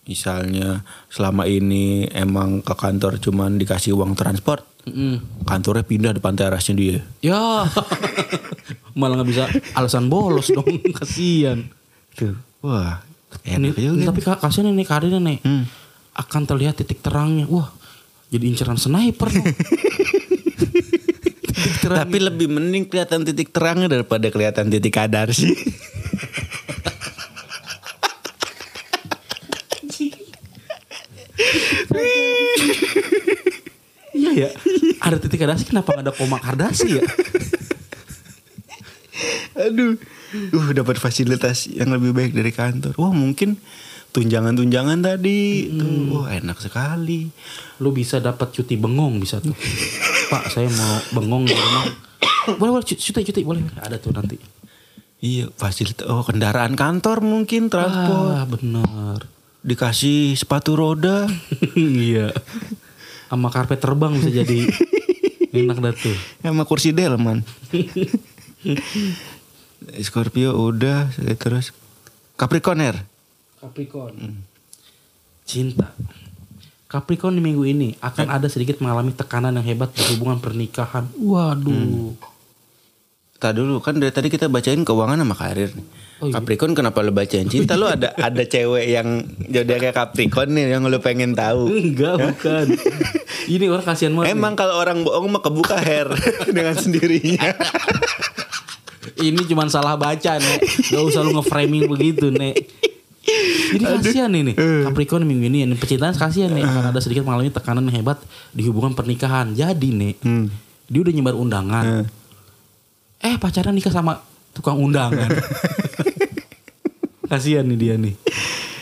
Misalnya selama ini emang ke kantor cuman dikasih uang transport. Kantornya pindah depan terasnya dia. Ya malah nggak bisa alasan bolos dong kasihan. Tuh. Wah, Ini- enak Eh, juga. tapi ka- kasihan ini karirnya nih. Hmm. Akan terlihat titik terangnya. Wah jadi inceran sniper dong. titik terang. Tapi lebih mending kelihatan titik terangnya daripada kelihatan titik kadar sih. Iya ya. Ada titik kardasi kenapa nggak ada koma kardasi ya? Aduh. Uh, dapat fasilitas yang lebih baik dari kantor. Wah, mungkin tunjangan-tunjangan tadi. Tuh, wah enak sekali. Lu bisa dapat cuti bengong bisa tuh. Pak saya mau bengong di rumah. Boleh boleh cu- cuti cuti boleh. Ada tuh nanti. Iya, fasilitas oh kendaraan kantor mungkin transport. Ah bener. Dikasih sepatu roda. iya. Sama karpet terbang bisa jadi enak dah tuh. Sama kursi delman. Scorpio udah terus Capricorn Her. Capricorn. Hmm. Cinta. Capricorn di minggu ini akan ada sedikit mengalami tekanan yang hebat di hubungan pernikahan. Waduh. Tadi dulu kan dari tadi kita bacain keuangan sama karir nih. Oh iya. Capricorn kenapa lu bacain cinta lu ada ada cewek yang jadinya kayak Capricorn nih yang lu pengen tahu. Enggak bukan. Ini orang kasihan banget. nih. Emang kalau orang bohong mah kebuka hair dengan sendirinya. Ini cuman salah baca nek Gak usah lu nge-framing begitu nek Jadi kasihan ini Capricorn minggu ini ini Pecintaan kasihan nih Karena ada sedikit mengalami tekanan yang hebat Di hubungan pernikahan Jadi nih Hmm. Dia udah nyebar undangan Eh pacarnya nikah sama tukang kan? undangan Eh. kasihan nih dia nih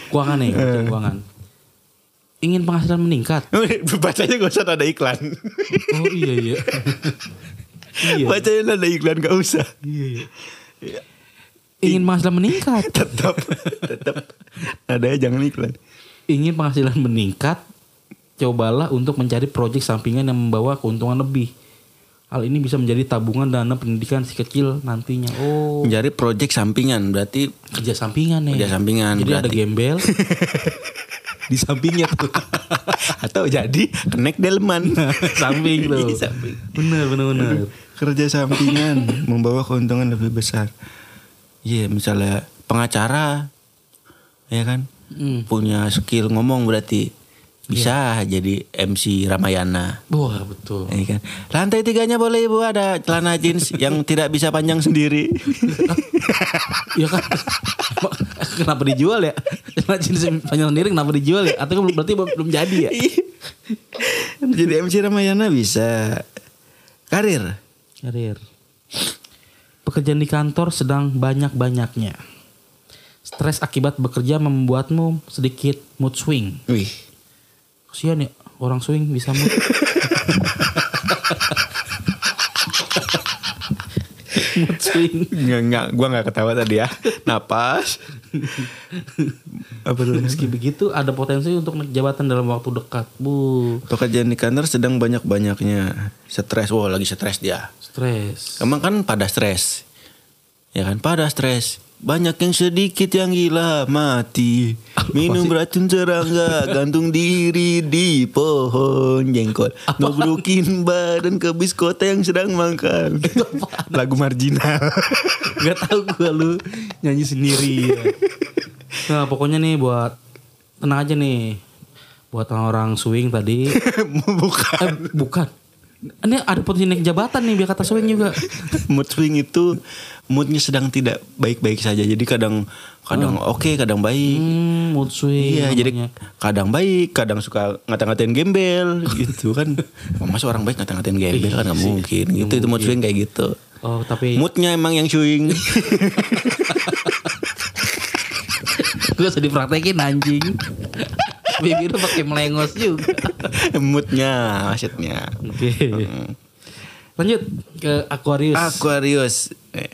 Keuangan nih keuangan ingin penghasilan meningkat. Bacanya gak usah ada iklan. Oh iya iya. iya. Bacanya ada iklan gak usah. Iya iya. Ingin penghasilan meningkat. Tetap, tetap. Nadanya jangan iklan. Ingin penghasilan meningkat, cobalah untuk mencari proyek sampingan yang membawa keuntungan lebih. Hal ini bisa menjadi tabungan dana pendidikan si kecil nantinya. Oh, Mencari proyek sampingan berarti kerja sampingan nih. Iya. Kerja sampingan, Jadi ada berarti. gembel. di sampingnya tuh. atau jadi kenek delman. Samping tuh. Iya, samping. Bener bener bener. Kerja sampingan membawa keuntungan lebih besar. Iya, misalnya pengacara ya kan Hmm. punya skill ngomong berarti bisa jadi MC Ramayana. Wah betul. Iya kan. Lantai tiganya boleh ibu ada celana jeans yang tidak bisa panjang sendiri. Iya kan? Ma- kenapa dijual ya? Celana jeans yang panjang sendiri kenapa dijual ya? Atau belum- berarti belum belum jadi ya? Jadi MC Ramayana bisa karir. Karir. Pekerjaan di kantor sedang banyak-banyaknya. Stres akibat bekerja membuatmu sedikit mood swing. Wih. Kasihan ya, orang swing bisa mood. mood swing. Nggak, nggak, gua nggak ketawa tadi ya. Napas. Apa tuh? Meski begitu ada potensi untuk naik jabatan dalam waktu dekat. Bu, Pekerjaan di kantor sedang banyak-banyaknya. Stres, wow lagi stres dia. stres. Emang kan pada stres. Ya kan pada stres. Banyak yang sedikit yang gila mati. Minum racun serangga, gantung diri di pohon jengkol. Ngebrukin badan ke biskota yang sedang makan. Lagu marginal. Gak tau gue lu nyanyi sendiri ya. Nah pokoknya nih buat Tenang aja nih Buat orang swing tadi Bukan. Eh bukan Ini ada potensi naik jabatan nih biar kata swing juga Mood swing itu moodnya sedang tidak baik-baik saja. Jadi kadang kadang Oh. oke, kadang baik. Hmm mood swing Iya, jadi namanya. kadang baik, kadang suka ngata-ngatain gembel gitu kan. Masa orang baik ngata-ngatain gembel kan nggak mungkin. Gitu itu mood swing kayak gitu. Oh tapi Moodnya emang yang swing. Gue usah dipraktekin anjing Bibir lu pakai melengos juga Moodnya maksudnya. Mm. Oke Lanjut ke Aquarius Aquarius. Eh.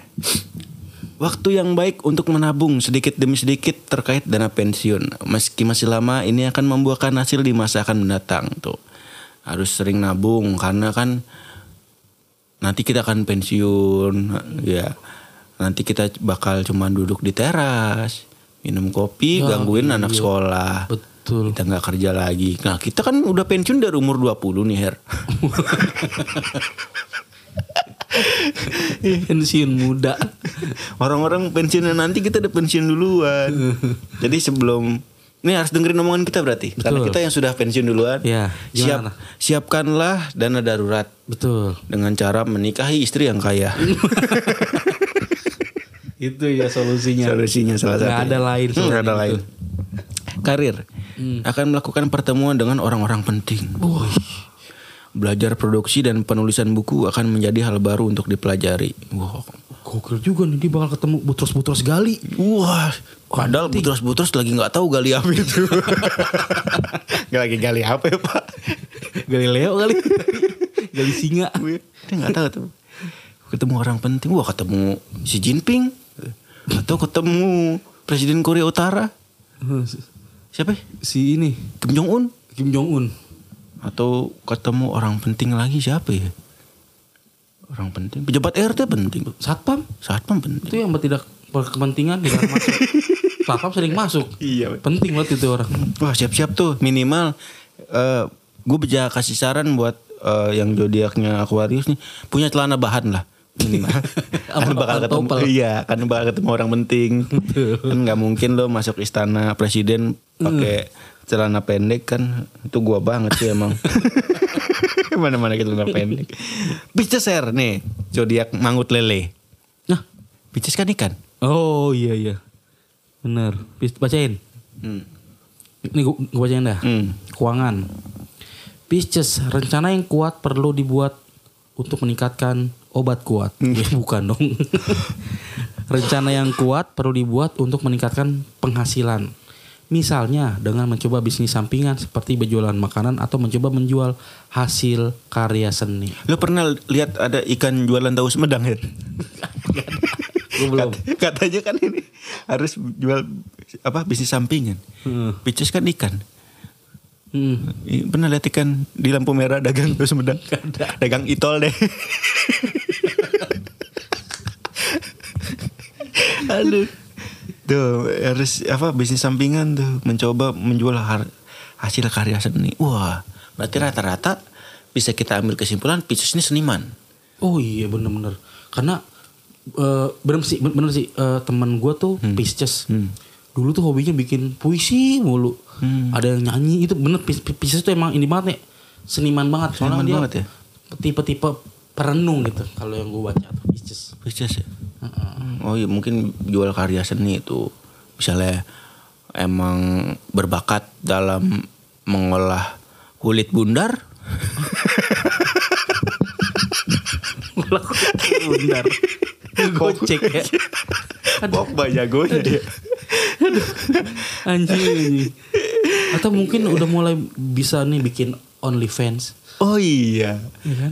Waktu yang baik untuk menabung sedikit demi sedikit terkait dana pensiun. Meski masih lama, ini akan membuahkan hasil di masa akan mendatang tuh. Harus sering nabung karena kan nanti kita akan pensiun ya. Nanti kita bakal cuma duduk di teras, minum kopi, Ya, gangguin iya. anak sekolah. Betul Kita nggak kerja lagi. Nah, kita kan udah pensiun dari umur 20 nih, Her. Pensiun muda Orang-orang pensiunan nanti kita udah pensiun duluan. Jadi sebelum ini harus dengerin omongan kita berarti karena Betul. kita yang sudah pensiun duluan. Iya, Siap gimana? siapkanlah dana darurat Betul dengan cara menikahi istri yang kaya. itu ya solusinya Solusinya salah satu. Nggak ada lain Enggak selain ada itu. lain. Hmm. Karir akan melakukan pertemuan dengan orang-orang penting. Belajar produksi dan penulisan buku akan menjadi hal baru untuk dipelajari. Wah, gokil juga nih dia bakal ketemu butros-butros gali Wah, padahal butros-butros lagi nggak tahu gali apa itu. Gak lagi gali apa ya pak? gali leo kali gali singa Dia nggak tahu tuh. Ketemu orang penting, wah ketemu Xi Jinping atau ketemu Presiden Korea Utara siapa? ya? Hmm, si ini Kim Jong Un Kim Jong Un atau ketemu orang penting lagi siapa ya? Orang penting, pejabat RT penting, satpam satpam penting. itu yang tidak berkepentingan tidak masuk satpam sering masuk Iya. penting banget itu orang Wah siap-siap tuh minimal gue bisa kasih saran buat eh, yang zodiaknya Aquarius nih punya celana bahan lah minimal. kan Apa- bakal apa ketemu topel? iya kan bakal ketemu orang penting. kan nggak mungkin lo masuk istana presiden Mm. pakai celana pendek kan itu gua banget sih emang. Mana-mana kita celana pendek. Pisces Air nih zodiak mangut lele. nah Pisces kan ikan. oh iya iya bener Bis- bacain Hmm. ini gua, gua bacain dah Hmm. keuangan Pisces rencana yang kuat perlu dibuat untuk meningkatkan obat kuat Ya, bukan dong rencana yang kuat perlu dibuat untuk meningkatkan penghasilan Misalnya dengan mencoba bisnis sampingan seperti berjualan makanan atau mencoba menjual hasil karya seni. Lo pernah lihat ada ikan jualan tahu Sumedang ya? Gua belum. Kat- katanya kan ini harus jual apa bisnis sampingan. Hmm. Picus kan ikan. Hmm. I- Pernah lihat ikan di lampu merah dagang tahu Sumedang? Dagang itol deh. Aduh. Tuh harus apa bisnis sampingan tuh mencoba menjual har- hasil karya seni. Wah, berarti rata-rata bisa kita ambil kesimpulan Picus ini seniman. Oh iya bener-bener. Karena eh, bener sih, bener, bener sih eh, teman gue tuh Hmm. Pisces. Dulu tuh hobinya bikin puisi mulu. Hmm. Ada yang nyanyi itu bener Pis- Pis- Pisces tuh emang ini banget nih. Seniman banget. Soalnya Seniman dia banget ya? Tipe-tipe perenung gitu kalau yang gue baca tuh Pisces. Pictures ya? Oh iya mungkin jual karya seni itu misalnya emang berbakat dalam mengolah kulit bundar. Oh, Bundar. Gocek ya. Pogba jagonya dia. Anjing. Atau mungkin udah mulai bisa nih bikin OnlyFans. Oh iya.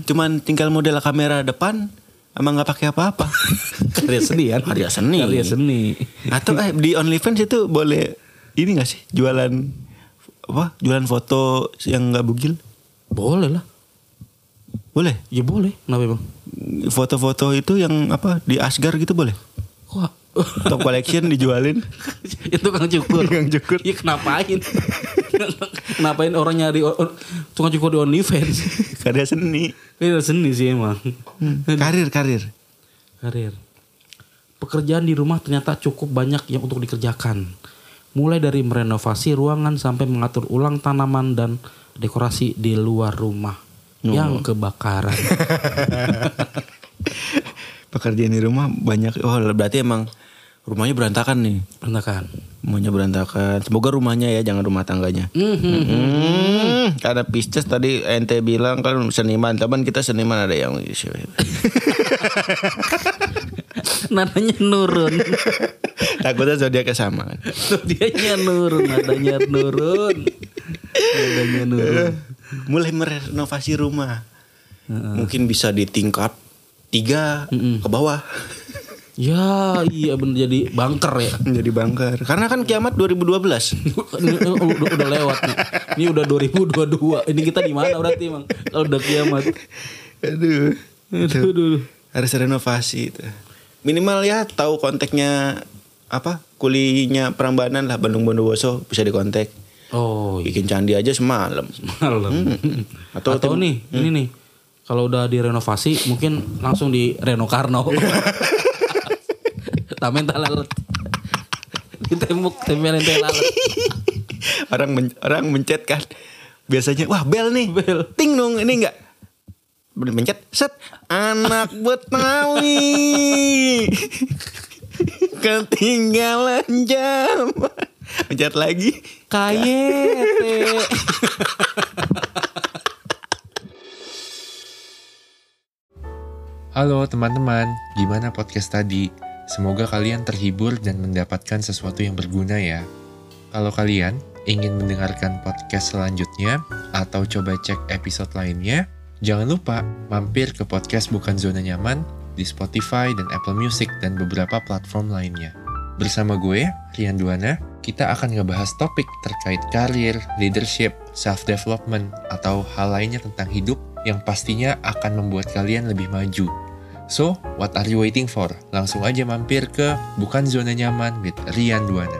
Cuman tinggal model kamera depan emang nggak pakai apa-apa. Karya seni kan? Karya seni. Karya seni. Atau eh, di OnlyFans itu boleh ini gak sih jualan apa jualan foto yang nggak bugil Boleh lah. boleh Ya boleh. Kenapa bang? foto-foto itu yang apa di Asgar gitu boleh Wah. top collection dijualin itu tukang cukur. Tukang cukur. Ya kenapain? kenapain orang nyari o- o- tukang cukur di OnlyFans? karya seni Karya seni sih emang. Hmm. Kan? karir karir Karir. Pekerjaan di rumah ternyata cukup banyak yang untuk dikerjakan. Mulai dari merenovasi ruangan sampai mengatur ulang tanaman dan dekorasi di luar rumah. Yang kebakaran. pekerjaan di rumah banyak oh berarti emang rumahnya berantakan nih Berantakan. rumahnya berantakan semoga rumahnya ya jangan rumah tangganya Mhm. Hmm, karena Pisces tadi ente bilang kan seniman teman kita seniman ada yang Nadanya nurun. takutnya zodiaknya sama kan Dianya nurun, nadanya nurun. Nadanya nurun. mulai merenovasi rumah mungkin bisa di tingkat tiga ke bawah Ya, iya bener jadi bunker ya. menjadi bangker karena kan kiamat 2012 ini udah, udah lewat nih. Ini udah 2022. Ini kita di mana berarti, Bang? Kalau udah kiamat. Aduh. Aduh, Tuh. aduh, aduh. Harus renovasi itu. Minimal ya tahu kontaknya apa? Kulinya Prambanan lah Bandung Bondowoso bisa dikontak. Oh, iya. Bikin candi aja semalam. malam. Atau, Atau tim- nih, ini nih. Kalau udah direnovasi, mungkin langsung di Reno Karno. Tamen talalet. Ditembok, tempelin talalet. orang men- orang mencet kan. Biasanya wah bel nih. Bel. Ting dong ini enggak. Bener mencet set anak Betawi. Ketinggalan jam. Mencet lagi. Kayete. Halo teman-teman, gimana podcast tadi? Semoga kalian terhibur dan mendapatkan sesuatu yang berguna ya. Kalau kalian ingin mendengarkan podcast selanjutnya atau coba cek episode lainnya, jangan lupa mampir ke podcast Bukan Zona Nyaman di Spotify dan Apple Music dan beberapa platform lainnya. Bersama gue, Rian Duana, kita akan ngebahas topik terkait karir, leadership, self-development, atau hal lainnya tentang hidup yang pastinya akan membuat kalian lebih maju. So, what are you waiting for? Langsung aja mampir ke Bukan Zona Nyaman with Rian Duana.